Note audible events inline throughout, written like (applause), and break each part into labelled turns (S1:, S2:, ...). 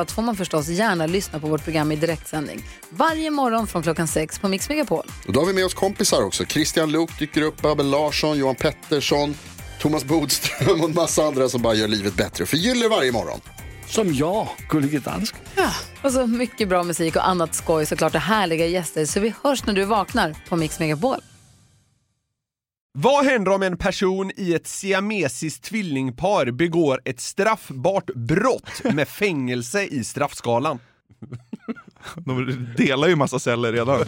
S1: allt får man förstås gärna lyssna på vårt program i direktsändning. Varje morgon från klockan sex på Mix Megapol.
S2: Och då har vi med oss kompisar också. Christian Luuk dyker upp, Abel Larsson, Johan Pettersson, Thomas Bodström och en massa andra som bara gör livet bättre och förgyller varje morgon.
S3: (laughs) Som jag, Gullige Dansken.
S1: Och så mycket bra musik och annat skoj såklart och härliga gäster. Så vi hörs när du vaknar på Mix Megapol.
S4: Vad händer om en person i ett siamesiskt tvillingpar begår ett straffbart brott med fängelse i straffskalan?
S5: De delar ju massa celler redan.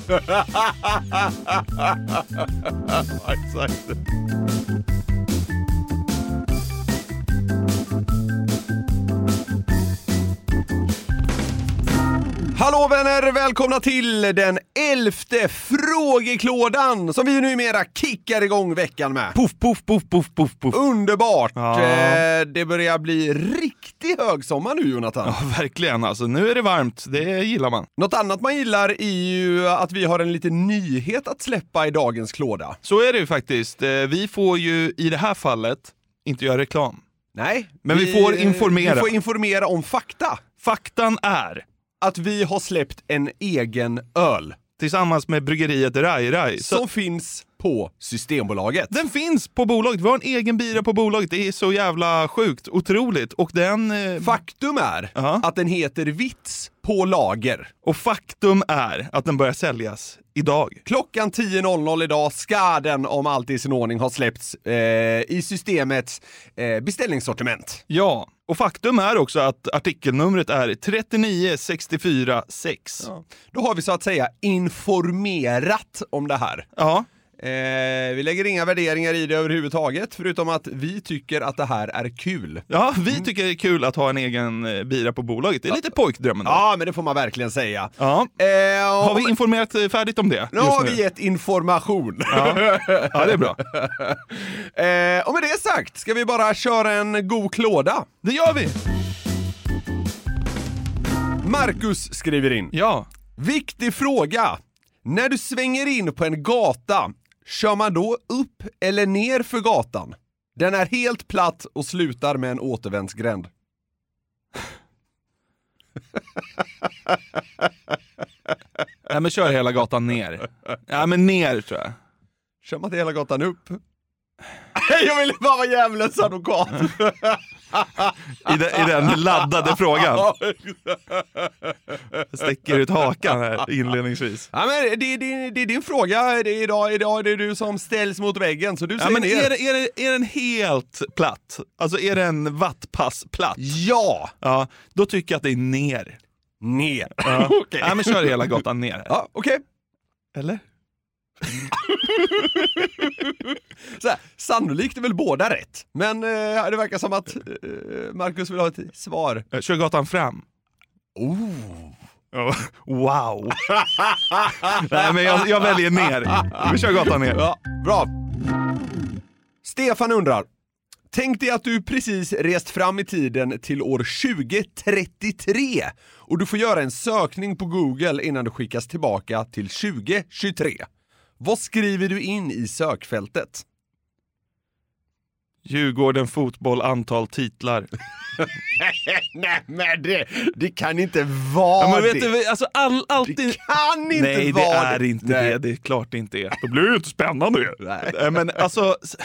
S4: Hallå vänner! Välkomna till den elfte frågeklådan som vi ju numera kickar igång veckan med.
S5: Poff, poff, poff, poff, poff, poff.
S4: Underbart!
S5: Ja.
S4: Eh, det börjar bli riktig högsommar nu Jonathan.
S5: Ja, verkligen alltså. Nu är det varmt, det gillar man.
S4: Något annat man gillar är ju att vi har en liten nyhet att släppa i dagens klåda.
S5: Så är det ju faktiskt. Eh, Vi får ju i det här fallet inte göra reklam.
S4: Nej,
S5: Men vi får informera.
S4: Vi får informera om fakta.
S5: Faktan är,
S4: Att vi har släppt en egen öl
S5: tillsammans med bryggeriet Rai Rai, så
S4: som finns på Systembolaget.
S5: den finns på bolaget. Vi har en egen bira på bolaget. Det är så jävla sjukt, otroligt. Och den... eh,
S4: Faktum är
S5: Ja.
S4: att den heter Vits på lager.
S5: Och faktum är att den börjar säljas idag.
S4: Klockan 10.00 idag ska den, om allt är i sin ordning, ha släppts eh, i systemets eh, beställningssortiment.
S5: Ja, och faktum är också att artikelnumret är 39646. Ja.
S4: Då har vi så att säga informerat om det här.
S5: ja.
S4: Eh, vi lägger inga värderingar i det överhuvudtaget, förutom att vi tycker att det här är kul. Mm.
S5: vi tycker det är kul att ha en egen eh, bira på bolaget. Det är lite pojkdrömmen. då.
S4: Ja, men det får man verkligen säga.
S5: Ja.
S4: Eh, och-
S5: Har vi informerat eh, färdigt om det
S4: nu har vi
S5: just
S4: gett information.
S5: Ja, det är bra.
S4: (laughs) eh, och med det sagt, ska vi bara köra en god klåda?
S5: Det gör vi!
S4: Marcus skriver in.
S5: Ja.
S4: Viktig fråga. När du svänger in på en gata, kör man då upp eller ner för gatan? Den är helt platt och slutar med en återvändsgränd.
S5: Nej, men kör hela gatan ner. Ja, men ner tror jag.
S4: Kör man till hela gatan upp? Jag ville bara vara djävulens advokat.
S5: (laughs) I, de, I den laddade frågan. Sticker ut hakan här inledningsvis.
S4: Ja, men det, det, det är din fråga det är idag. Idag är det du som ställs mot väggen, så du
S5: Ja,
S4: säger
S5: men
S4: ner.
S5: är, det- är, det- är den helt platt? Alltså är den vattpassplatt?
S4: Ja!
S5: Ja, då tycker jag att det är ner.
S4: Ner.
S5: Ja.
S4: (laughs) Okej.
S5: ja men kör hela gatan ner. här.
S4: Ja, okej.
S5: Eller?
S4: Så här, Sannolikt är väl båda rätt, men eh, det verkar som att eh, Marcus vill ha ett svar.
S5: Eh, Kör gatan fram. Oh.
S4: (laughs)
S5: Wow! Nej, men jag, jag väljer ner. Vi kör gatan ner.
S4: Ja, bra. Stefan undrar. Tänk dig att du precis rest fram i tiden till år 2033 och du får göra en sökning på Google innan du skickas tillbaka till 2023. Vad skriver du in i sökfältet?
S5: Djurgården, fotboll, antal titlar.
S4: Nej men det, det kan inte vara
S5: Ja, men vet du, alltså all, alltid...
S4: kan inte
S5: Nej, det
S4: vara
S5: är inte
S4: Nej.
S5: det. Det är klart det inte är. Då blir det ju inte spännande ju. Nej, Men alltså, s-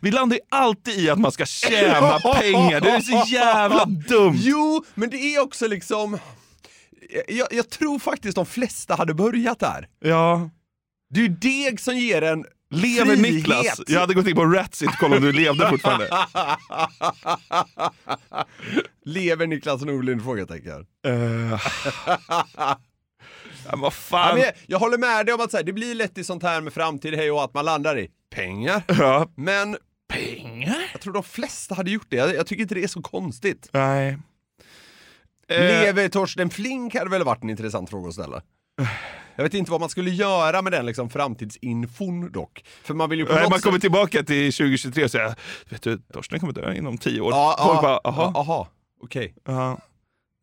S5: vi landar ju alltid i att man ska
S4: (laughs)
S5: tjäna pengar. Det är så jävla dumt.
S4: Jo, men det är också liksom... Jag, jag tror faktiskt de flesta hade börjat där.
S5: Ja.
S4: Det är ju deg som ger en
S5: Lever
S4: frihet.
S5: Niklas? Jag hade gått in på Ratsit och kollat om du levde fortfarande.
S4: Lever Niklas Norlund? Frågetecken.
S5: Eh. (laughs) Ja, vad
S4: Ja,
S5: fan.
S4: men jag, jag håller med dig om att så här, det blir lätt i sånt här med framtid hej och att man landar i pengar.
S5: Ja.
S4: Men jag tror de flesta hade gjort det. Jag, jag tycker inte det är så konstigt.
S5: Nej.
S4: Lever Torsten Flink hade väl varit en intressant fråga att ställa. Jag vet inte vad man skulle göra med den liksom framtidsinfon dock. För man vill ju på
S5: Nej,
S4: något
S5: man kommer
S4: sätt...
S5: tillbaka till 2023 och säger vet du, Torsten kommer dö inom tio år.
S4: Ja,
S5: Folk
S4: ja,
S5: bara,
S4: ja,
S5: aha,
S4: aha, okej.
S5: ja.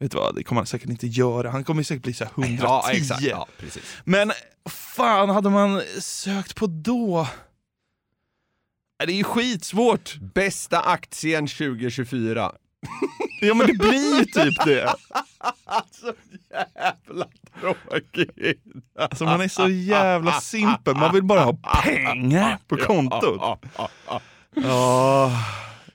S5: Vet du vad, det kommer han säkert inte göra. Han kommer säkert bli så här 110.
S4: Ja, exakt. Ja, precis.
S5: Men fan hade man sökt på då? Nej, Det är ju skitsvårt.
S4: Bästa aktien 2024.
S5: Ja men det blir ju typ det.
S4: Alltså jävla tråkigt.
S5: Alltså man är så jävla simpel. Man vill bara ha pengar på kontot. Ja.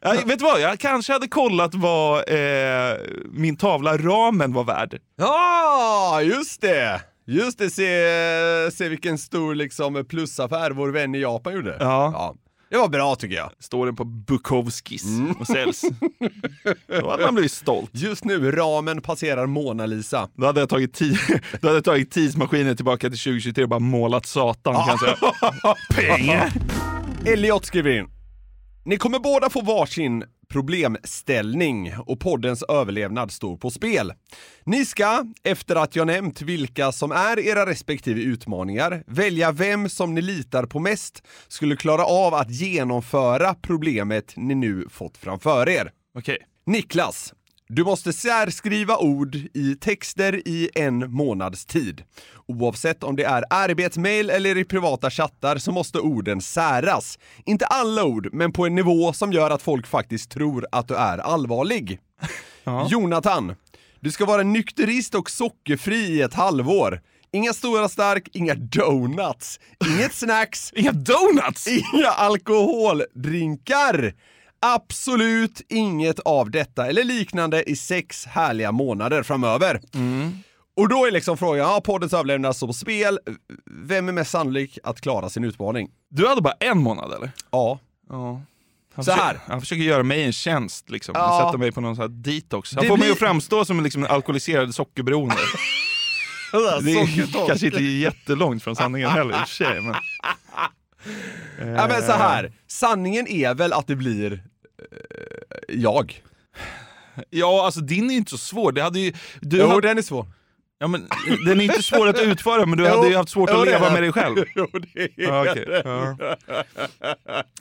S5: Ja, vet du vad, jag kanske hade kollat vad eh, min tavla ramen var värd.
S4: Ja, just det! Just det, se, se vilken stor liksom plusaffär vår vän i Japan gjorde.
S5: Ja.
S4: Det var bra tycker jag.
S5: Står den på Bukowskis
S4: Mm.
S5: och säljs. Då hade man blivit stolt.
S4: Just nu, ramen passerar Mona Lisa.
S5: Då hade jag tagit, ti- (laughs) då hade jag tagit tidsmaskinen tillbaka till 2023 och bara målat Satan kan jag säga. Pengar!
S4: (laughs) Elliot skriver in. Ni kommer båda få varsin problemställning och poddens överlevnad står på spel. Ni ska, efter att jag nämnt vilka som är era respektive utmaningar, välja vem som ni litar på mest skulle klara av att genomföra problemet ni nu fått framför er.
S5: Okej.
S4: Niklas, du måste särskriva ord i texter i en månads tid. Oavsett om det är arbetsmail eller i privata chattar så måste orden säras. Inte alla ord, men på en nivå som gör att folk faktiskt tror att du är allvarlig. Jonathan, du ska vara nykterist och sockerfri i ett halvår. Inga stora stark, inga donuts, inget
S5: (laughs)
S4: snacks,
S5: Inga donuts!
S4: Inga alkoholdrinkar! Absolut inget av detta eller liknande i sex härliga månader framöver.
S5: Mm.
S4: Och då är liksom frågan, ja, poddens överlevnad står på spel. Vem är mest sannolik att klara sin utmaning?
S5: Du hade bara en månad eller?
S4: Ja.
S5: Ja. Han
S4: Så
S5: försöker,
S4: här.
S5: han försöker göra mig en tjänst, liksom.
S4: Ja.
S5: han sätter mig på någon sån här detox. Han
S4: Det
S5: får mig
S4: blir-
S5: att framstå som liksom en alkoholiserad (laughs) sockerberoende. Det är kanske inte jättelångt från sanningen heller i och för sig. Men...
S4: Ja, men så här. Sanningen är väl att det blir eh, jag.
S5: Ja, alltså din är ju inte så svår. Det hade ju, du
S4: Jo,
S5: hade-
S4: den är svår.
S5: ja, men, den är inte svår att utföra, men du hade ju haft svårt
S4: jo,
S5: att
S4: det är
S5: leva
S4: den.
S5: med dig själv.
S4: Jo, det
S5: Ja, okej. Ja.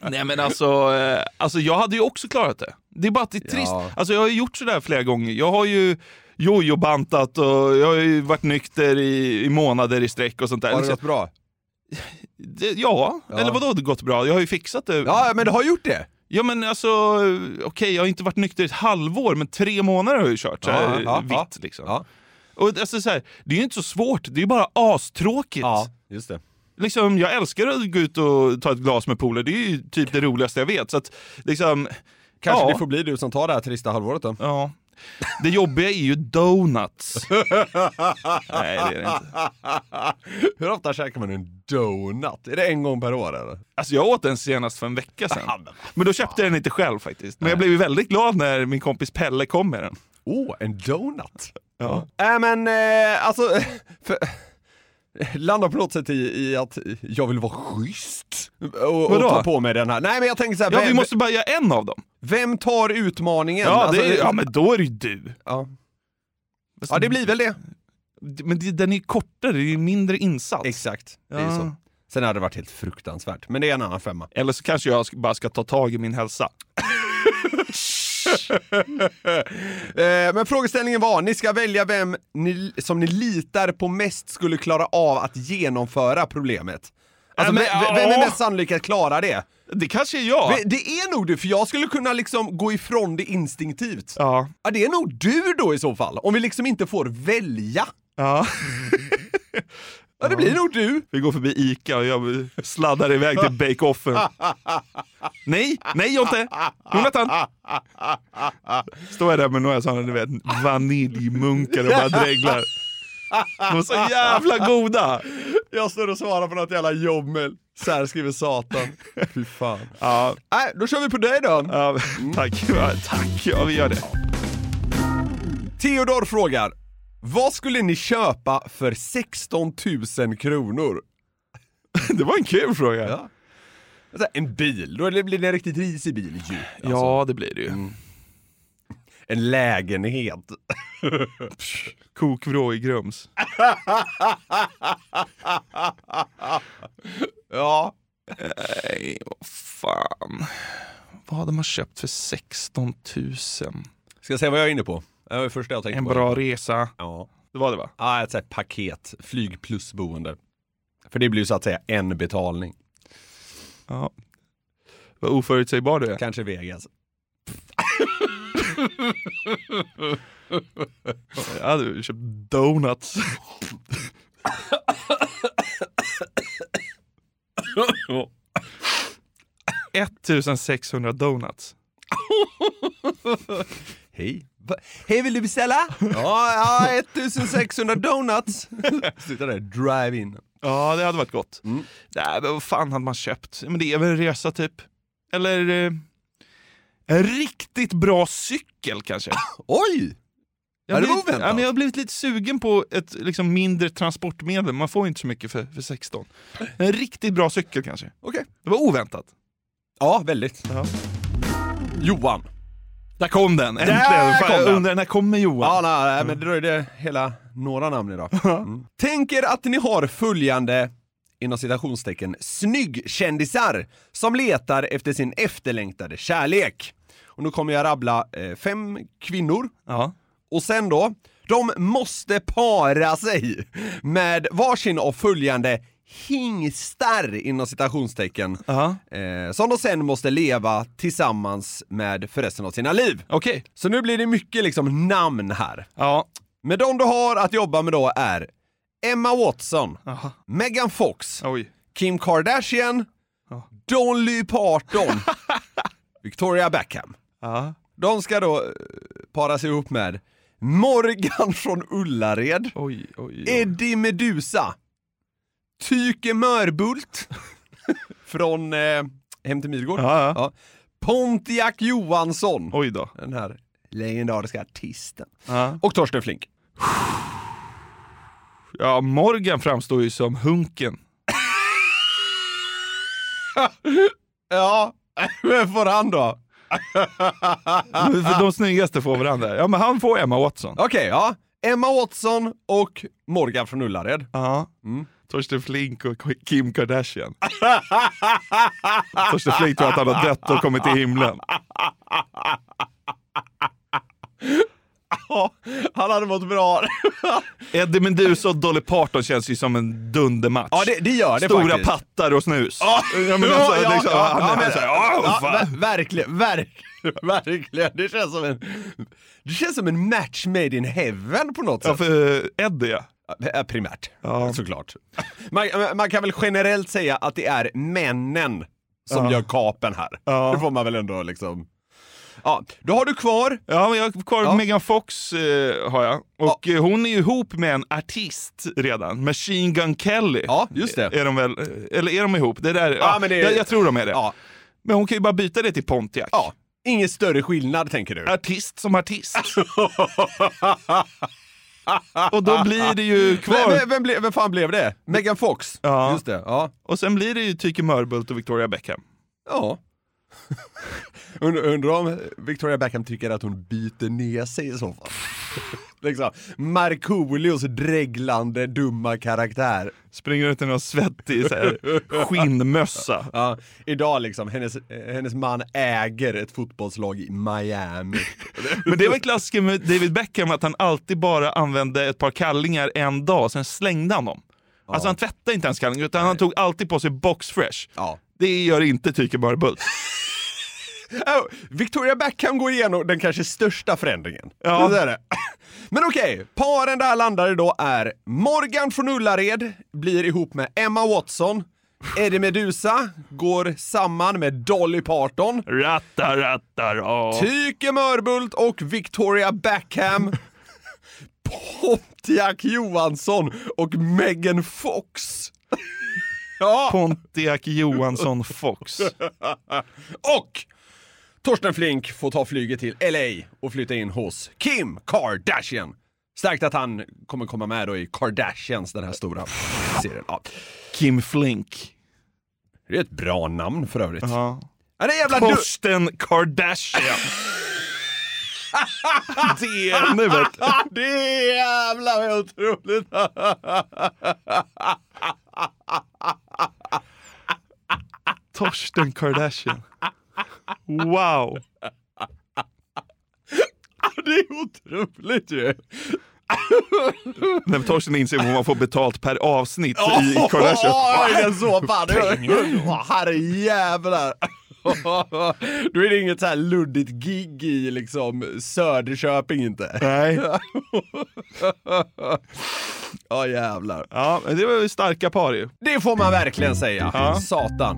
S5: Nej men alltså, eh, alltså, jag hade ju också klarat det. Det är bara att det är trist.
S4: Ja.
S5: Alltså jag har ju gjort sådär flera gånger. Jag har ju jojo-bantat och jag har ju varit nykter i, i månader i sträck och sånt där.
S4: Har det
S5: Liksom,
S4: gått bra?
S5: det, ja. eller vadå det gått bra? Jag har ju fixat det.
S4: Ja, men du har gjort det.
S5: Ja men alltså, okej jag har inte varit nykter i ett halvår men tre månader har jag ju kört så här,
S4: Ja, ja,
S5: vitt
S4: ja.
S5: liksom.
S4: Ja.
S5: Och alltså, så här, det är ju inte så svårt, det är ju bara astråkigt.
S4: just det.
S5: liksom, jag älskar att gå ut och ta ett glas med polare. Det är ju typ det roligaste jag vet. Så att, liksom,
S4: Kanske
S5: ja,
S4: det får bli du som tar det här trista halvåret då.
S5: ja. Det jobbiga är ju donuts. Nej, det är det inte.
S4: (laughs) Hur ofta käkar man en donut? Är det en gång per år eller?
S5: Alltså, jag åt den senast för en vecka sedan. Men då köpte jag den inte själv faktiskt. Men jag blev ju väldigt glad när min kompis Pelle kom med den.
S4: Oh, en donut!
S5: Ja.
S4: Äh, men eh, alltså... (laughs) För, landar på något sätt i, i att jag vill vara schysst och, och
S5: Vadå?
S4: ta på mig den här. Nej men jag tänker så här,
S5: Ja,
S4: vem,
S5: vi måste bara göra en av dem.
S4: vem tar utmaningen?
S5: Ja, det är,
S4: Alltså,
S5: ja men då är det ju du.
S4: ja.
S5: Fast-
S4: ja, det blir väl det.
S5: Men det, den är ju kortare, det är ju mindre insats.
S4: Exakt, det är
S5: Ja.
S4: ju så. Sen hade det varit helt fruktansvärt, men det är en annan femma.
S5: Eller så kanske jag sk- bara ska ta tag i min hälsa.
S4: Eh, Men frågeställningen var, ni ska välja vem ni, som ni litar på mest skulle klara av att genomföra problemet. Alltså,
S5: Ja,
S4: ve-
S5: men,
S4: ve- vem är
S5: ja.
S4: mest sannolik att klara det?
S5: Det kanske är jag.
S4: Ve- Det är nog du, för jag skulle kunna liksom gå ifrån det instinktivt.
S5: Ja.
S4: Ja, det är nog du då i så fall, om vi liksom inte får välja.
S5: Ja.
S4: Ja, det blir nog du.
S5: Vi går förbi Ica och jag sladdar iväg till Bake-Offen. Nej, nej Jonte! Jonathan! Står jag där med några sådana, du vet, vaniljmunkar och bara dreglar. De är så jävla goda!
S4: Jag står och svarar på något jävla jobbmail. Så här skriver Satan. Fy fan.
S5: Ja,
S4: Nej, då kör vi på dig då.
S5: ja, tack, ja, tack, ja vi gör det.
S4: Theodor frågar, vad skulle ni köpa för 16 000 kronor?
S5: Det var en kul fråga.
S4: Ja. Alltså, en bil, då blir det en riktigt risig bil ju. Alltså.
S5: Mm. Ja, det blir det ju.
S4: en lägenhet.
S5: Kokvrå i Grums.
S4: Ja,
S5: Nej, vad fan. Vad hade man köpt för 16 000?
S4: ska jag säga vad jag är inne på? Det var det första jag tänkte
S5: En
S4: på.
S5: bra resa.
S4: Ja.
S5: Det var det va?
S4: Ja, ett så här paket, flyg plus boende. För det blir ju så att säga en betalning.
S5: Ja. Vad oförutsägbar du är.
S4: Kanske Vegas.
S5: Jag hade köpt donuts.
S4: Ja.
S5: 1600 donuts.
S4: Hej. Va- Hej, vill du
S5: (laughs)
S4: beställa? ja, ja, 1600 donuts. (laughs) Sitta där, drive-in.
S5: Ja, det hade varit gott.
S4: Mm.
S5: Nej, men vad fan hade man köpt? Men det är väl en resa typ. Eller eh, en riktigt bra cykel kanske.
S4: Oj! Ja,
S5: Jag har,
S4: det var
S5: blivit,
S4: oväntat.
S5: ja, men jag har blivit lite sugen på ett liksom, mindre transportmedel. Man får ju inte så mycket för, för 16. En riktigt bra cykel kanske.
S4: Okej.
S5: Det var oväntat.
S4: Ja, väldigt.
S5: Ja.
S4: Johan.
S5: Där kom den! Äntligen!
S4: Där
S5: Fan,
S4: kom
S5: jag
S4: den.
S5: undrar när kommer Johan?
S4: Ja, nej, nej, men det dröjde hela några namn idag. Mm. Tänk er att ni har följande, inom citationstecken, snyggkändisar som letar efter sin efterlängtade kärlek. Och nu kommer jag rabbla eh, fem kvinnor
S5: Ja.
S4: Och sen då, de måste para sig med varsin av följande hingstar inom citationstecken.
S5: Ja.
S4: Eh, som de sen måste leva tillsammans med för resten av sina liv.
S5: Okej.
S4: Så nu blir det mycket liksom namn här.
S5: Ja.
S4: Men de du har att jobba med då är Emma Watson,
S5: Aha.
S4: Megan Fox,
S5: Oj.
S4: Kim Kardashian,
S5: Ja.
S4: Dolly
S5: (laughs)
S4: Parton, Victoria Beckham.
S5: Ja.
S4: De ska då eh, para sig ihop med Morgan från Ullared,
S5: Oj, oj, oj.
S4: Eddie Medusa, Tyke Mörbult (laughs) från eh, Hem till Midgård,
S5: Ja, ja.
S4: Ja. Pontiac Johansson,
S5: Oj då.
S4: den här legendariska artisten,
S5: Ja.
S4: och Torsten Flink.
S5: ja, Morgan framstår ju som hunken.
S4: Ja, (laughs) vem får han då?
S5: För de snyggaste får varandra. Ja, men han får Emma Watson.
S4: Okej, ja. Emma Watson och Morgan från Ullared.
S5: Ja. Mm. Torsten Flink och
S4: (laughs)
S5: Kim Kardashian. Torsten Flink tror att han har dött och kommit till himlen.
S4: Ja, han hade mått bra.
S5: Eddie Meduza och Dolly Parton känns ju som en dundermatch.
S4: Ja, det, det gör det
S5: Stora
S4: faktiskt.
S5: pattar och snus.
S4: Ja,
S5: men alltså,
S4: ja,
S5: liksom,
S4: ja,
S5: han-
S4: ja,
S5: han
S4: men-
S5: säger, "Åh,
S4: ja,
S5: fan."
S4: ver- Verkligen, verkligen, (laughs) verkligen. Det känns som en, det känns som en match made in heaven på något
S5: Ja,
S4: sätt.
S5: för eh, Eddie ja.
S4: Ja, eh, primärt,
S5: Ja.
S4: såklart. Man, eh, man kan väl generellt säga att det är männen som
S5: Ja.
S4: gör kapen här.
S5: Ja.
S4: Det får man väl ändå liksom. Ja, då har du kvar.
S5: Ja, men jag har kvar
S4: Ja.
S5: Megan Fox eh, har jag. Och eh, hon är ju ihop med en artist redan. Machine Gun Kelly.
S4: Ja, just det.
S5: Är de väl, eh, eller är de ihop? Det där, ja,
S4: men det-
S5: jag, jag tror de är det.
S4: Ja,
S5: Men hon kan ju bara byta det till Pontiac.
S4: ja. Ingen större skillnad tänker du?
S5: Artist
S4: (laughs)
S5: som artist. och då blir det ju kvar.
S4: Vem, vem, vem, ble, vem fan blev det? Megan Fox?
S5: Ja.
S4: Just det, ja.
S5: Och sen blir det ju Tyke Mörbult och Victoria Beckham.
S4: Ja. Und, (laughs) undrar om Victoria Beckham tycker att hon byter ner sig i så fall. (laughs) liksom, Markoolios dreglande dumma karaktär.
S5: Springer ut i någon svettig så här, skinnmössa.
S4: Ja, idag liksom, hennes, eh, hennes man äger ett fotbollslag i Miami.
S5: Men det var klassiken med David Beckham att han alltid bara använde ett par kallingar en dag, sen slängde han dem. Alltså han tvättade inte ens kallingar utan han tog alltid på sig boxfresh.
S4: Ja.
S5: Det gör inte Tyke Mörbult.
S4: Oh, Victoria Beckham går igenom den kanske största förändringen.
S5: Ja.
S4: Det är (coughs) det. Men okej, paren där landade då är Morgan från Ullared blir ihop med Emma Watson. Eddie Medusa går samman med Dolly Parton.
S5: Ratta, ratta, ra.
S4: Tyke Mörbult och Victoria Beckham. Pontiac Johansson och Megan Fox. Ja,
S5: Pontiac Johansson Fox.
S4: och Torsten Flink får ta flyget till LA och flytta in hos Kim Kardashian. Starkt att han kommer komma med då i Kardashians, den här stora serien. Ja.
S5: Kim Flink.
S4: Det är ett bra namn för övrigt.
S5: Ja.
S4: Ja, det är jävla du-
S5: Torsten Kardashian. Det är nu vet du.
S4: Det är jävlar vad otroligt!
S5: Torsten Kardashian. Wow.
S4: Det är otroligt ju!
S5: När Torsten inser hur man får betalt per avsnitt
S4: (laughs)
S5: i Kardashian.
S4: Oj, den så fan! Åh, Herrejävlar! (laughs) Då är det inget så här luddigt gig i liksom Söderköping inte.
S5: Nej.
S4: (laughs) Ja jävlar.
S5: Ja, men det var ju starka par ju.
S4: Det får man verkligen säga.
S5: Ja.
S4: Satan.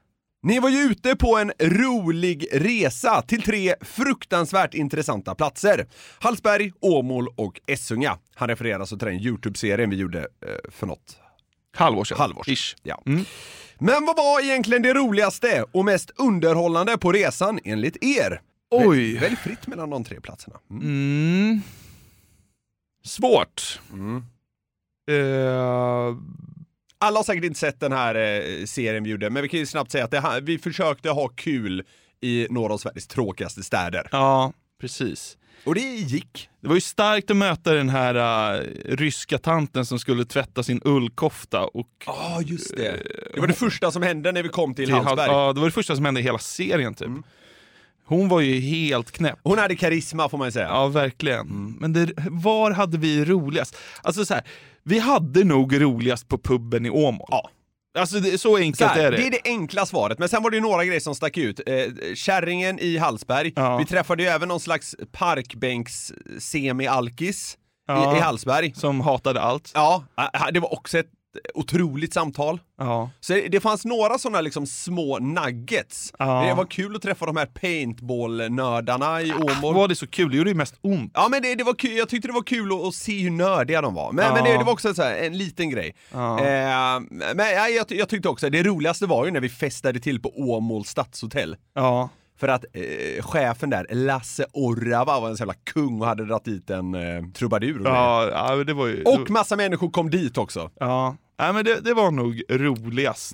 S4: ni var ju ute på en rolig resa till tre fruktansvärt intressanta platser. Hallsberg, Åmål och Essunga. Han refererar alltså till den Youtube-serien vi gjorde eh, för något
S5: Halvår sedan.
S4: halvår sedan.
S5: Ish. Mm.
S4: Ja. Men vad var egentligen det roligaste och mest underhållande på resan enligt er?
S5: Oj.
S4: Välj fritt mellan de tre platserna. Mm.
S5: Mm. Svårt. Eh,
S4: Alla har säkert inte sett den här eh, serien vi gjorde, men vi kan ju snabbt säga att det här, vi försökte ha kul i några av Sveriges tråkigaste städer.
S5: ja, precis.
S4: Och det gick.
S5: Det var ju starkt att möta den här eh, ryska tanten som skulle tvätta sin ullkofta och
S4: Ja, just det. Eh, Det var det första som hände när vi kom till,
S5: till Hall-
S4: Hallsberg.
S5: Ja, det var det första som hände i hela serien typ. Hon var ju helt knäpp.
S4: Hon hade karisma får man ju säga.
S5: Ja, verkligen. Men det, var hade vi roligast? Alltså så här, vi hade nog roligast på puben i Åmål. Ja. Alltså det, så enkelt
S4: Så här,
S5: är det.
S4: det är det enkla svaret, men sen var det ju några grejer som stack ut. Eh, kärringen i Hallsberg,
S5: Ja.
S4: vi träffade ju även någon slags parkbänks-semi-alkis
S5: Ja.
S4: i, i Hallsberg.
S5: Som hatade allt.
S4: Ja, eh, det var också ett otroligt samtal.
S5: Ja.
S4: Så det- det fanns några sådana liksom små nuggets.
S5: Ja.
S4: Det var kul att träffa de här paintball-nördarna i Åmål.
S5: Var det så kul? Det gjorde ju mest ont.
S4: Ja men det, det var kul, jag tyckte det var kul att, att se hur nördiga de var. Men,
S5: Ja.
S4: men det, det var också så här, en liten grej.
S5: Ja.
S4: Eh, men ja, jag, ty- jag tyckte också, det roligaste var ju när vi festade till på Åmåls stadshotell.
S5: Ja.
S4: För att eh, chefen där, Lasse Orrava, var en sån jävla kung och hade dragit dit en eh, trubadur. och grejer.
S5: Ja, ja, men det var ju...
S4: Och massa människor kom dit också.
S5: ja. Nej, men det, det var nog roligast.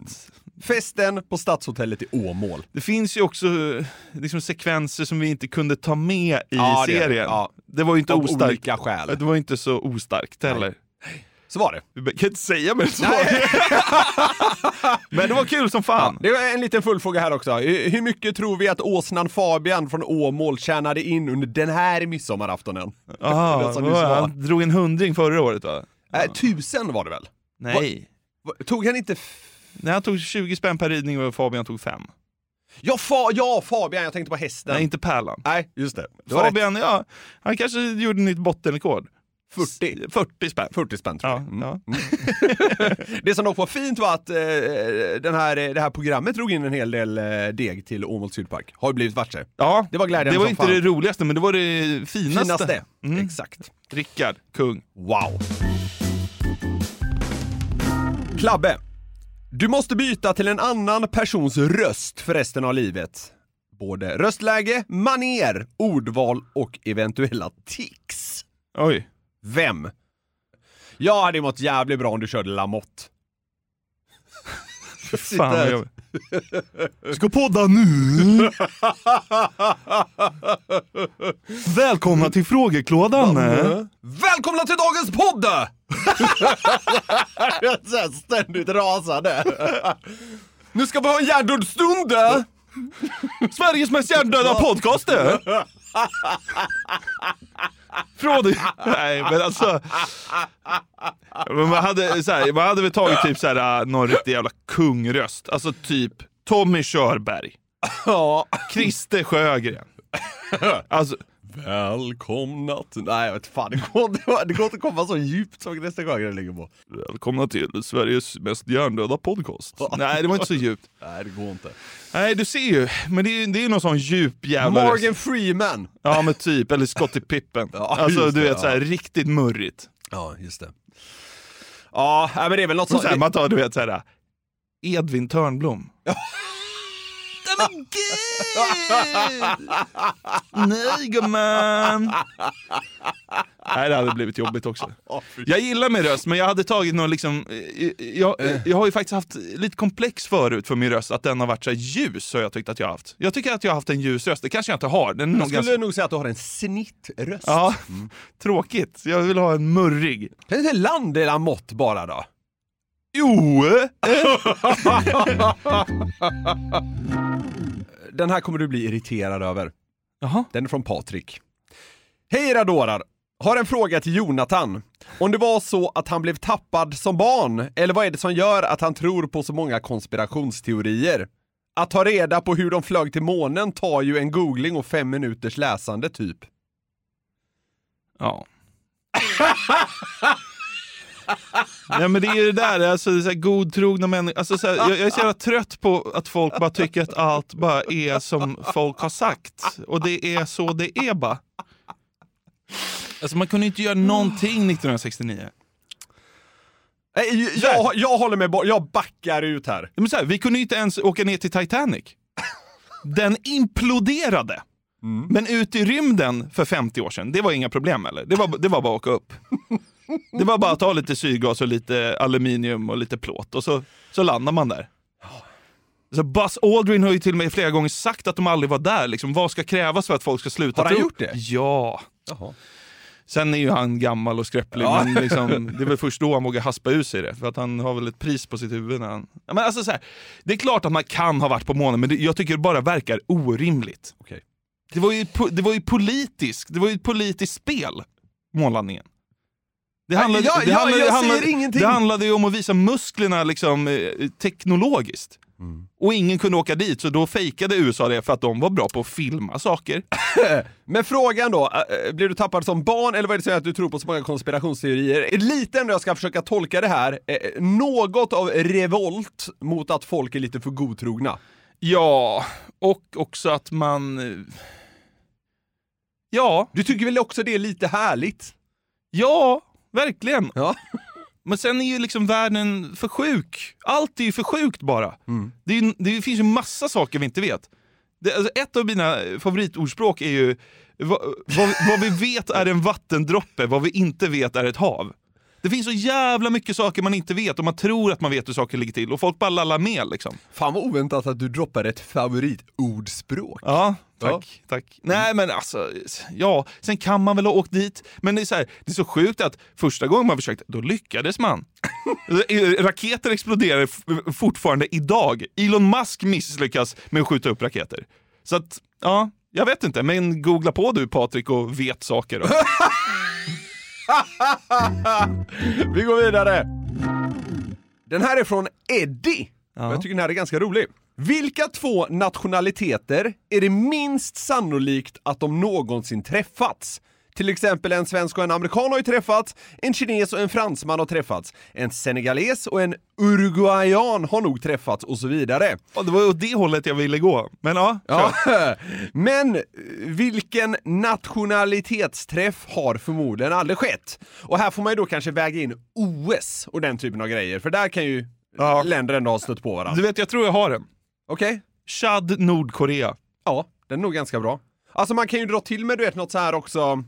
S4: Festen på Stadshotellet i Åmål.
S5: Det finns ju också eh, liksom, sekvenser som vi inte kunde ta med i
S4: Ja, det är det.
S5: serien.
S4: Ja.
S5: Det var ju inte
S4: Av
S5: ostarkt.
S4: olika skäl.
S5: Det var ju inte så ostarkt heller.
S4: Så var det.
S5: Vi be- kan inte säga mer än så. (laughs) Men det var kul som fan.
S4: Det var en liten fullfråga här också. Hur hur mycket tror vi att åsnan Fabian från Åmål tjänade in under den här midsommaraftonen?
S5: Aha,
S4: Den som
S5: vad
S4: nyss
S5: var det?
S4: var.
S5: han drog en hundring förra året va?
S4: Eh, tusen var det väl?
S5: Nej.
S4: Va- Tog han inte... F-
S5: Nej, han tog 20 spänn per ridning och Fabian tog 5.
S4: ja, fa- ja, Fabian, jag tänkte på hästen.
S5: Nej, inte Pärlan.
S4: Nej, just det. det var rätt.
S5: Fabian, ja, han kanske gjorde nytt bottenrekord.
S4: 40.
S5: 40 spänn.
S4: 40 spänn tror
S5: Ja,
S4: jag. Mm.
S5: ja.
S4: Det som dock var fint var att eh, den här, det här programmet drog in en hel del eh, deg till Åmåls Sydpark. Har ju blivit varse.
S5: ja,
S4: Det var glädjande
S5: Det var
S4: som
S5: inte
S4: fan.
S5: det roligaste, men det var det finaste.
S4: Finaste.
S5: Mm.
S4: Exakt.
S5: Rickard, kung.
S4: Wow. Klabbe. Du måste byta till en annan persons röst för resten av livet. Både röstläge, maner, ordval och eventuella tics.
S5: Oj.
S4: Vem? Jag hade mått jävligt bra om du körde Lamotte.
S5: Fan vad jobbigt.
S4: Ska podda (laughs) nu!
S5: Välkomna till frågeklådan.
S4: Välkomna till dagens podd! Jag är så här ständigt rasande. nu ska vi ha en hjärndödsstund!
S5: Sveriges mest hjärndöda podcast. eh. Från... Nej, men alltså... Men man, hade, så här, man hade väl tagit typ så här, någon riktig jävla kungröst. Alltså typ Tommy Körberg.
S4: Ja.
S5: Christer Sjögren. Alltså,
S4: Välkomna till... Nej jag vet fan, det går, inte- det går inte att komma så djupt som nästa gång det ligger på.
S5: välkomna till Sveriges mest hjärndöda podcast. Nej, det var inte så djupt.
S4: Nej det går inte.
S5: Nej, du ser ju. Men det är ju det är någon sån djup jävla...
S4: Morgan Freeman!
S5: Ja, men typ. Eller Scottie Pippen.
S4: Ja,
S5: alltså,
S4: just
S5: du
S4: det,
S5: vet, så här, riktigt murrigt.
S4: Ja, just det. Ja, nej, men det är väl något
S5: Så
S4: som...
S5: så här, man tar, du vet, så här, Edvin Törnblom. Nej men gud! Nej gumman! Nej det hade blivit jobbigt också. Jag gillar min röst men jag hade tagit någon liksom, eh, jag, jag har ju faktiskt haft lite komplex förut för min röst att den har varit så här ljus har jag tyckt att jag har haft. Jag tycker att jag har haft en ljus röst, det kanske jag inte har. Den är nog
S4: Jag skulle
S5: ganska...
S4: nog säga att du har en snittröst.
S5: Ja, tråkigt. Jag vill ha en murrig.
S4: Kan inte Landela mått bara då?
S5: Jo!
S4: Den här kommer du bli irriterad över.
S5: Jaha.
S4: Den är från Patrik. Hej era dårar! Har en fråga till Jonathan. Om det var så att han blev tappad som barn, eller vad är det som gör att han tror på så många konspirationsteorier? Att ta reda på hur de flög till månen tar ju en googling och fem minuters läsande typ.
S5: Ja. Nej men det är ju det där, alltså så här, godtrogna människor. Alltså, så här, jag, jag är så jävla trött på att folk bara tycker att allt bara är som folk har sagt. Och det är så det är bara. Alltså man kunde ju inte göra någonting 1969.
S4: Nej, jag, jag håller med, bo- jag backar ut här.
S5: Men så här, vi kunde ju inte ens åka ner till Titanic. Den imploderade.
S4: Mm.
S5: Men ut i rymden för 50 år sedan, det var inga problem eller? Det var, det var bara att åka upp. Det var bara att ta lite syrgas och lite aluminium och lite plåt och så, så landar man där. Så Buzz Aldrin har ju till och med flera gånger sagt att de aldrig var där. Liksom, vad ska krävas för att folk ska sluta
S4: Har han
S5: tro?
S4: gjort det?
S5: Ja.
S4: Jaha.
S5: Sen är ju han gammal och skröplig,
S4: Ja.
S5: men liksom, det är väl först då han vågar haspa ur sig det. För att han har väl ett pris på sitt huvud när han... Ja, men alltså så här, det är klart att man kan ha varit på månen, men det, jag tycker det bara verkar orimligt.
S4: Okej.
S5: Det, var ju, po- det var ju politiskt, det var ju ett politiskt spel, månlandningen. Det handlade,
S4: ja,
S5: det
S4: ja,
S5: handlade,
S4: jag
S5: det handlade,
S4: säger ingenting.
S5: Det handlade ju om att visa musklerna liksom, eh, teknologiskt.
S4: Mm.
S5: Och ingen kunde åka dit, så då fejkade USA det för att de var bra på att filma saker.
S4: Men frågan då, äh, blev du tappad som barn eller vad är det som gör att du tror på så många konspirationsteorier? Lite ändå jag ska försöka tolka det här, eh, något av revolt mot att folk är lite för godtrogna.
S5: Ja, och också att man... eh, Ja,
S4: Du tycker väl också det är lite härligt?
S5: ja, verkligen.
S4: Ja.
S5: Men sen är ju liksom världen för sjuk. Allt är ju för sjukt bara.
S4: Mm.
S5: Det, är, ju- det finns ju massa saker vi inte vet. Det, alltså ett av mina favoritordspråk är ju vad, vad, vad vi vet är en vattendroppe, vad vi inte vet är ett hav. Det finns så jävla mycket saker man inte vet och man tror att man vet hur saker ligger till och folk bara lallar med liksom.
S4: Fan vad oväntat att du droppar ett favoritordspråk.
S5: Ja, tack. tack. Nej men alltså, ja, sen kan man väl ha åkt dit. Men det är så, här, det är så sjukt att första gången man försökte, då lyckades man. (laughs) raketer exploderar f- fortfarande idag. Elon Musk misslyckas med att skjuta upp raketer. Så att, ja, jag vet inte. Men googla på du Patrik och vet saker. Då. (laughs)
S4: Vi går vidare! Den här är från Eddie. och Jag tycker den här är ganska rolig. Vilka två nationaliteter är det minst sannolikt att de någonsin träffats? Till exempel en svensk och en amerikan har ju träffats, en kines och en fransman har träffats, en senegales och en uruguayan har nog träffats och så vidare.
S5: Ja, Det var ju åt det hållet jag ville gå. Men ja,
S4: Ja. Men eh, vilken nationalitetsträff har förmodligen aldrig skett? Och här får man ju då kanske väga in OS och den typen av grejer, för där kan ju
S5: Ja.
S4: länder ändå ha stött på varandra.
S5: Du vet, jag tror jag har den.
S4: Okej?
S5: Chad, Nordkorea.
S4: Ja, den är nog ganska bra. Alltså man kan ju dra till med du vet något så här också.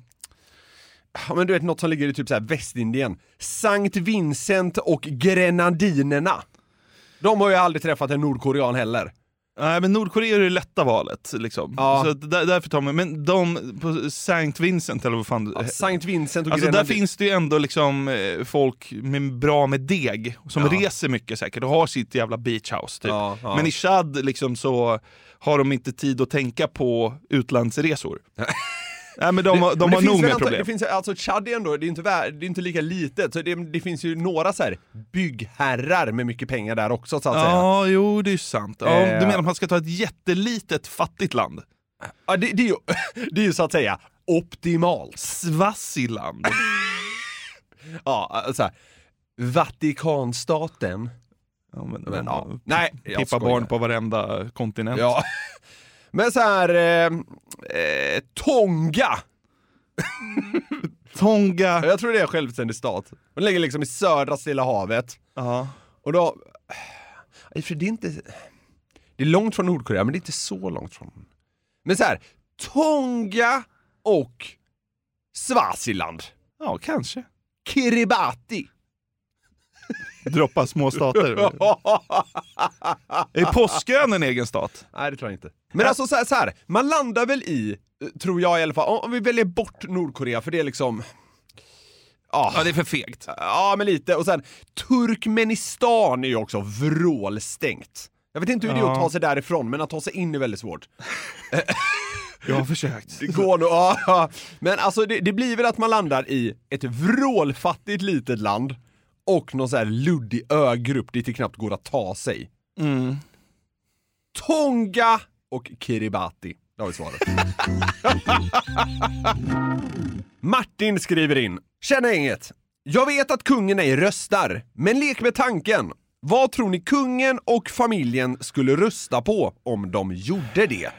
S4: Ja, men du vet något som ligger i typ så här Västindien. Sankt Vincent och Grenadinerna. De har ju aldrig träffat en nordkorean heller.
S5: Nej, men Nordkorea är det lätta valet. Liksom.
S4: Ja.
S5: Så att där, därför tar man, men de på Saint Vincent eller vad fan
S4: Ja, Sankt Vincent och
S5: Alltså där
S4: Grenadin-
S5: finns det ju ändå liksom eh, folk med, bra med deg, som reser mycket säkert och har sitt jävla beachhouse typ.
S4: Ja, ja.
S5: Men i Chad liksom så har de inte tid att tänka på
S4: (laughs)
S5: utlandsresor. Nej men de, har-
S4: Men
S5: de
S4: det
S5: har
S4: finns väl
S5: nog med
S4: antal-
S5: problem.
S4: Det finns, alltså Chad är ändå, det är inte, vär, det är inte lika litet, så det, det finns ju några så här byggherrar med mycket pengar där också så att säga.
S5: Ja, jo det är ju sant. Ja,
S4: Eh.
S5: Du menar att man ska ta ett jättelitet fattigt land?
S4: Ja, det, det, är ju, det är ju (laughs) så att säga optimalt.
S5: Swaziland?
S4: Ja, alltså här, Vatikanstaten.
S5: Ja, men,
S4: Men, ja.
S5: ja.
S4: Nej, jag
S5: Pippa
S4: skojar.
S5: barn på varenda kontinent.
S4: Ja. (laughs) Men så här, eh, eh, Tonga.
S5: (laughs) Tonga.
S4: Jag tror det är en självständig stat. Den ligger liksom i södra Stilla havet.
S5: Ja.
S4: Och då, eh, för det är inte, det är långt från Nordkorea men det är inte så långt från. Men så här, Tonga och Swaziland.
S5: ja, kanske.
S4: Kiribati.
S5: Droppa småstater. Är Påskön en egen stat?
S4: Nej, det tror jag inte. Men alltså så här, så här man landar väl i, eh, tror jag i alla fall, om- om vi väljer bort Nordkorea för det är liksom... Ja,
S5: det är för fegt.
S4: Ja, men lite. Och sen Turkmenistan är ju också vrålstängt. Jag vet inte hur det är att ta sig därifrån, men att ta sig in är väldigt svårt.
S5: Jag har försökt.
S4: Det går nog, ja, ja. Men alltså det, det blir väl att man landar i ett vrålfattigt litet land och någon sån här luddig ögrupp dit det knappt går att ta sig. Tonga och Kiribati. Där har vi svaret. (laughs) Martin skriver in. Tjena inget. Jag vet att kungen ej röstar, men lek med tanken. Vad tror ni kungen och familjen skulle rösta på om de gjorde det?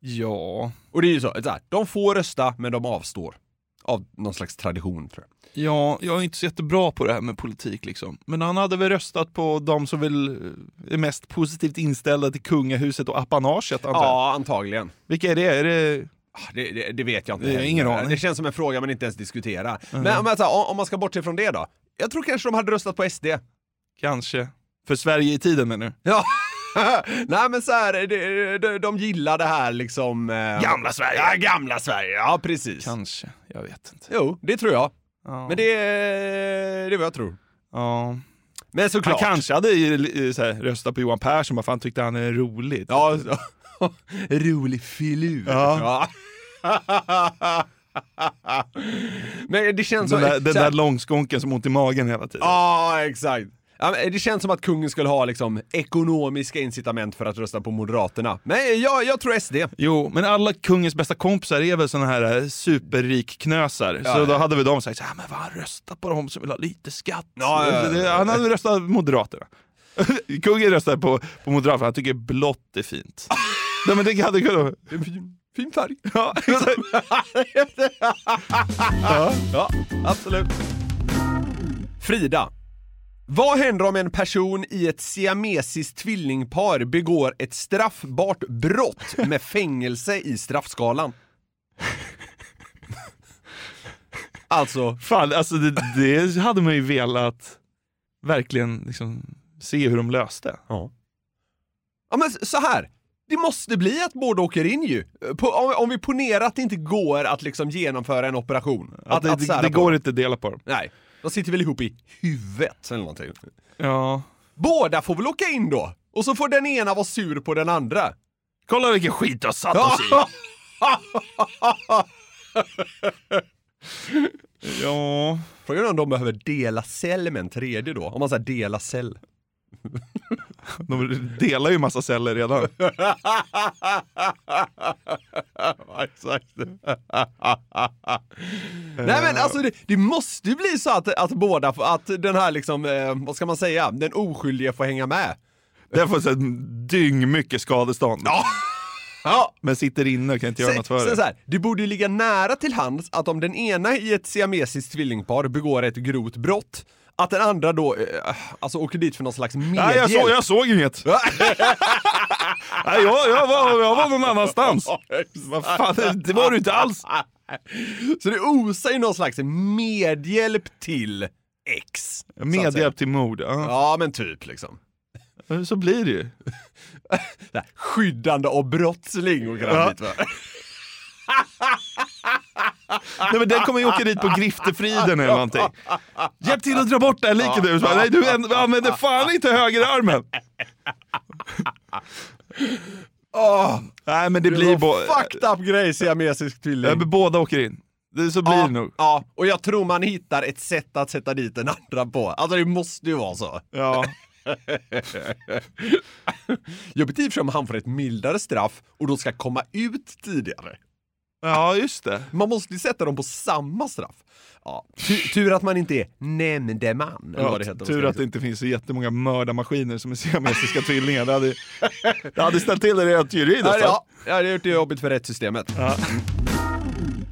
S5: Ja.
S4: Och det är ju så, så här, de får rösta men de avstår. Av någon slags tradition tror jag.
S5: ja, jag är inte så jättebra på det här med politik liksom. Men han hade väl röstat på de som väl eh, är mest positivt inställda till kungahuset och apanaget antar jag.
S4: Ja, antagligen.
S5: Vilka är det? Är det...
S4: Ah, Det, det, det vet jag inte.
S5: Det är
S4: heller.
S5: ingen aning. Mm.
S4: Det känns som en fråga man inte ens diskuterar. Men om man, så här, om- om man ska bortse från det då? Jag tror kanske de hade röstat på SD.
S5: Kanske. För Sverige i tiden menar du?
S4: Ja. (laughs) Nej men så här, de, de, de gillar det här liksom... eh,
S5: Gamla Sverige.
S4: Ja, gamla Sverige. Ja, precis.
S5: Kanske. Jag vet inte.
S4: Jo, det tror jag.
S5: Ja.
S4: Men det, det är vad jag tror.
S5: Ja.
S4: Men
S5: Han
S4: såklart.
S5: kanske hade ju, eh, så här, röstat på Johan Persson bara för han tyckte han är rolig.
S4: Ja, så- (laughs) rolig filur.
S5: Ja.
S4: Ja. (laughs) Men det känns som...
S5: Den där, den
S4: så
S5: där
S4: här-
S5: långskonken som har ont i magen hela tiden.
S4: Ja, exakt. Ja, men det känns som att kungen skulle ha liksom ekonomiska incitament för att rösta på Moderaterna. Men jag, jag tror SD.
S5: Jo, men alla kungens bästa kompisar är väl såna här eh, superrikknösar.
S4: Ja,
S5: så då
S4: ja.
S5: hade väl de sagt såhär, men vad han röstar på de som vill ha lite skatt.
S4: Ja, ja, ja,
S5: Det- det-
S4: ja.
S5: Han hade röstat Moderaterna. (laughs) Kungen röstar på, på Moderaterna, han tycker blått är (laughs) fint. Nej men det hade kunnat...
S4: En fin, fin färg.
S5: Ja, exakt.
S4: (laughs) Ja, absolut. Frida. Vad händer om en person i ett siamesiskt tvillingpar begår ett straffbart brott med fängelse i (laughs) straffskalan? Alltså,
S5: Fan, alltså det, det hade man ju velat verkligen liksom, se hur de löste.
S4: ja men så här. Det måste bli att båda åker in ju. På, om, om vi ponerar att det inte går att liksom genomföra en operation.
S5: Att, det,
S4: sära
S5: det, det
S4: på
S5: går
S4: dem.
S5: inte att dela på dem.
S4: Nej, de sitter väl ihop i huvudet eller någonting.
S5: Ja.
S4: Båda får väl åka in då? Och så får den ena vara sur på den andra.
S5: Kolla vilken skit du har satt oss i! (laughs) Ja.
S4: Frågan är om de behöver dela cell med en tredje då? Om man säger dela cell.
S5: De delar ju massa celler redan.
S4: exakt. Nej men alltså det, det måste ju bli så att, att båda, får- att den här liksom, eh, vad ska man säga, den oskyldige får hänga med.
S5: Den får så här dyng mycket skadestånd.
S4: Ja,
S5: Men sitter inne och kan inte göra
S4: Sen-
S5: något för
S4: sen
S5: det.
S4: Så här, det borde ju ligga nära till hands att om den ena i ett siamesiskt tvillingpar begår ett grovt brott, att den andra då eh, alltså åker dit för någon slags medhjälp.
S5: Nej, jag, så, jag såg inget. Nej, jag, jag, var, jag var någon annanstans. Vad fan, det var du inte alls.
S4: (laughs) Så det osar ju någon slags medhjälp till X. så att säga.
S5: Medhjälp till mord. Ja.
S4: Ja, men typ liksom.
S5: Så blir det ju.
S4: Det här, skyddande av brottsling och
S5: Ja.
S4: ja. dit, va?
S5: (laughs) Nej, men den kommer ju åka dit på griftefriden eller någonting. Hjälp till att dra bort det här liket nu. Så bara, Nej, du an- använder fan inte högerarmen.
S4: (laughs) Åh,
S5: Nej, men det
S4: det
S5: blir...
S4: var
S5: Bo-
S4: fucked up grej, siamesisk tvilling.
S5: Ja, men båda åker in. Det, så blir
S4: ja,
S5: det nog.
S4: ja, och jag tror man hittar ett sätt att sätta dit den andra på. Alltså det måste ju vara så.
S5: Ja.
S4: Jobbigt i och för sig om han får ett mildare straff och då ska komma ut tidigare.
S5: ja,
S4: (laughs)
S5: just det.
S4: Man måste ju sätta dem på samma straff. Ja, tu- tur att man inte är nämndeman. eller
S5: Ja,
S4: vad det heter.
S5: tur att det inte finns så jättemånga mördarmaskiner som är siamesiska tvillingar.
S4: (laughs)
S5: Det hade, det hade ställt till det rent juridiskt.
S4: Ja, ja, det har gjort det jobbigt för rättssystemet.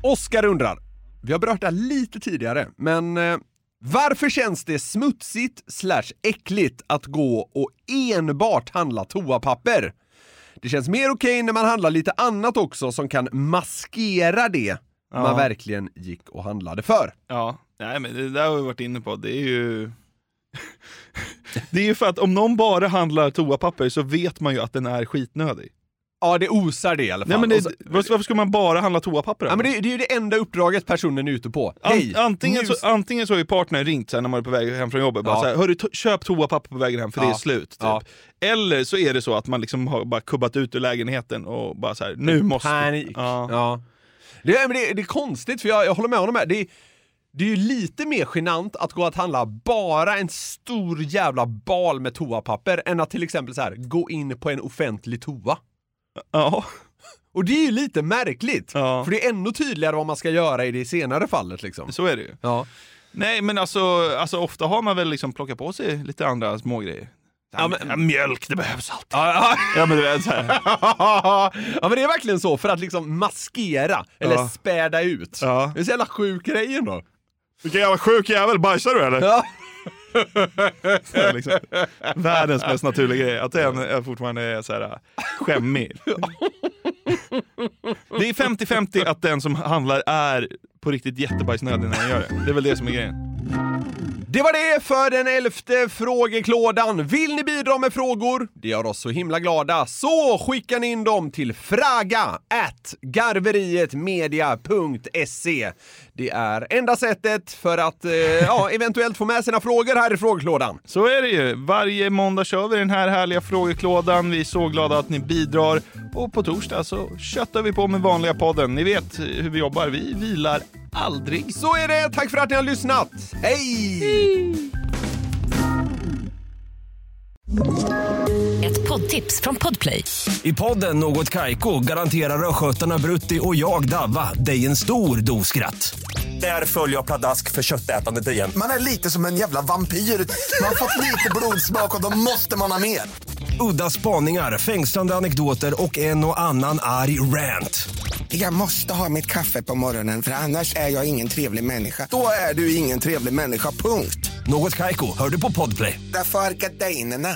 S4: Oskar undrar, vi har berört det här lite tidigare, men eh, varför känns det smutsigt slash äckligt att gå och enbart handla toapapper? Det känns mer okej när man handlar lite annat också som kan maskera det man verkligen gick och handlade för.
S5: Ja, nej men det där har vi varit inne på. Det är ju... (laughs) Det är ju för att om någon bara handlar toapapper så vet man ju att den är skitnödig.
S4: Ja, det osar det i alla fall.
S5: Nej, men det,
S4: Och så-
S5: varför varför ska man bara handla toapapper?
S4: alltså, ja, men det, det är ju det enda uppdraget personen är ute på.
S5: An-
S4: Hej,
S5: antingen,
S4: nu
S5: så, antingen så har ju partnern ringt sen när man är på väg hem från jobbet. Bara
S4: Ja.
S5: så här, Hörru, to- köp toapapper på vägen hem för det är
S4: Ja.
S5: slut. Typ.
S4: Ja.
S5: Eller så är det så att man liksom har bara kubbat ut ur lägenheten och bara så här, nu måste...
S4: Panik.
S5: Ja.
S4: Det, är- men det, det är konstigt, för jag, jag håller med honom här. Det, är- det är ju lite mer genant att gå att handla bara en stor jävla bal med toapapper än att till exempel så här, gå in på en offentlig toa.
S5: Ja.
S4: Och det är ju lite märkligt,
S5: Ja.
S4: för det är ännu tydligare vad man ska göra i det senare fallet liksom.
S5: så är det ju.
S4: (laughs) Ja.
S5: Nej, men alltså, alltså ofta har man väl liksom plockat på sig lite andra smågrejer. Ja, men, mjölk, det behövs alltid. Ja, men du vet så här.
S4: ja men det är verkligen så, för att liksom maskera eller
S5: Ja.
S4: späda ut.
S5: Ja.
S4: Det är så jävla sjuk grej ändå.
S5: Vilken jävla sjuk jävel, bajsar du eller?
S4: Ja.
S5: liksom. Världens mest naturliga grej, att den är fortfarande är så här äh, skämmig. Det är 50-50 att den som handlar är på riktigt jättebajsnödig när den gör det. Det är väl det som är grejen.
S4: Det var det för den elfte frågeklådan. Vill ni bidra med frågor? Det gör oss så himla glada. Så skickar ni in dem till fraga at garverietmedia.se. Det är enda sättet för att eh, ja, (laughs) eventuellt få med sina frågor här i frågeklådan.
S5: Så är det ju. Varje måndag kör vi den här härliga frågeklådan. Vi är så glada att ni bidrar. Och på torsdag så köttar vi på med vanliga podden. Ni vet hur vi jobbar. Vi vilar aldrig.
S4: Så är det. Tack för att ni har lyssnat. Hej!
S6: Ett poddtips från Podplay.
S3: I podden Något Kaiko garanterar östgötarna Brutti och jag, Davva, dig en stor dos skratt. Där följer jag pladask för köttätandet igen.
S7: Man är lite som en jävla vampyr. Man har fått lite blodsmak och då måste man ha mer.
S3: Udda spaningar, fängslande anekdoter och en och annan arg rant.
S7: Jag måste ha mitt kaffe på morgonen för annars är jag ingen trevlig människa. Då är du ingen trevlig människa, punkt.
S3: Något Kaiko, hör du på Podplay.
S7: Därför arkadeinerna.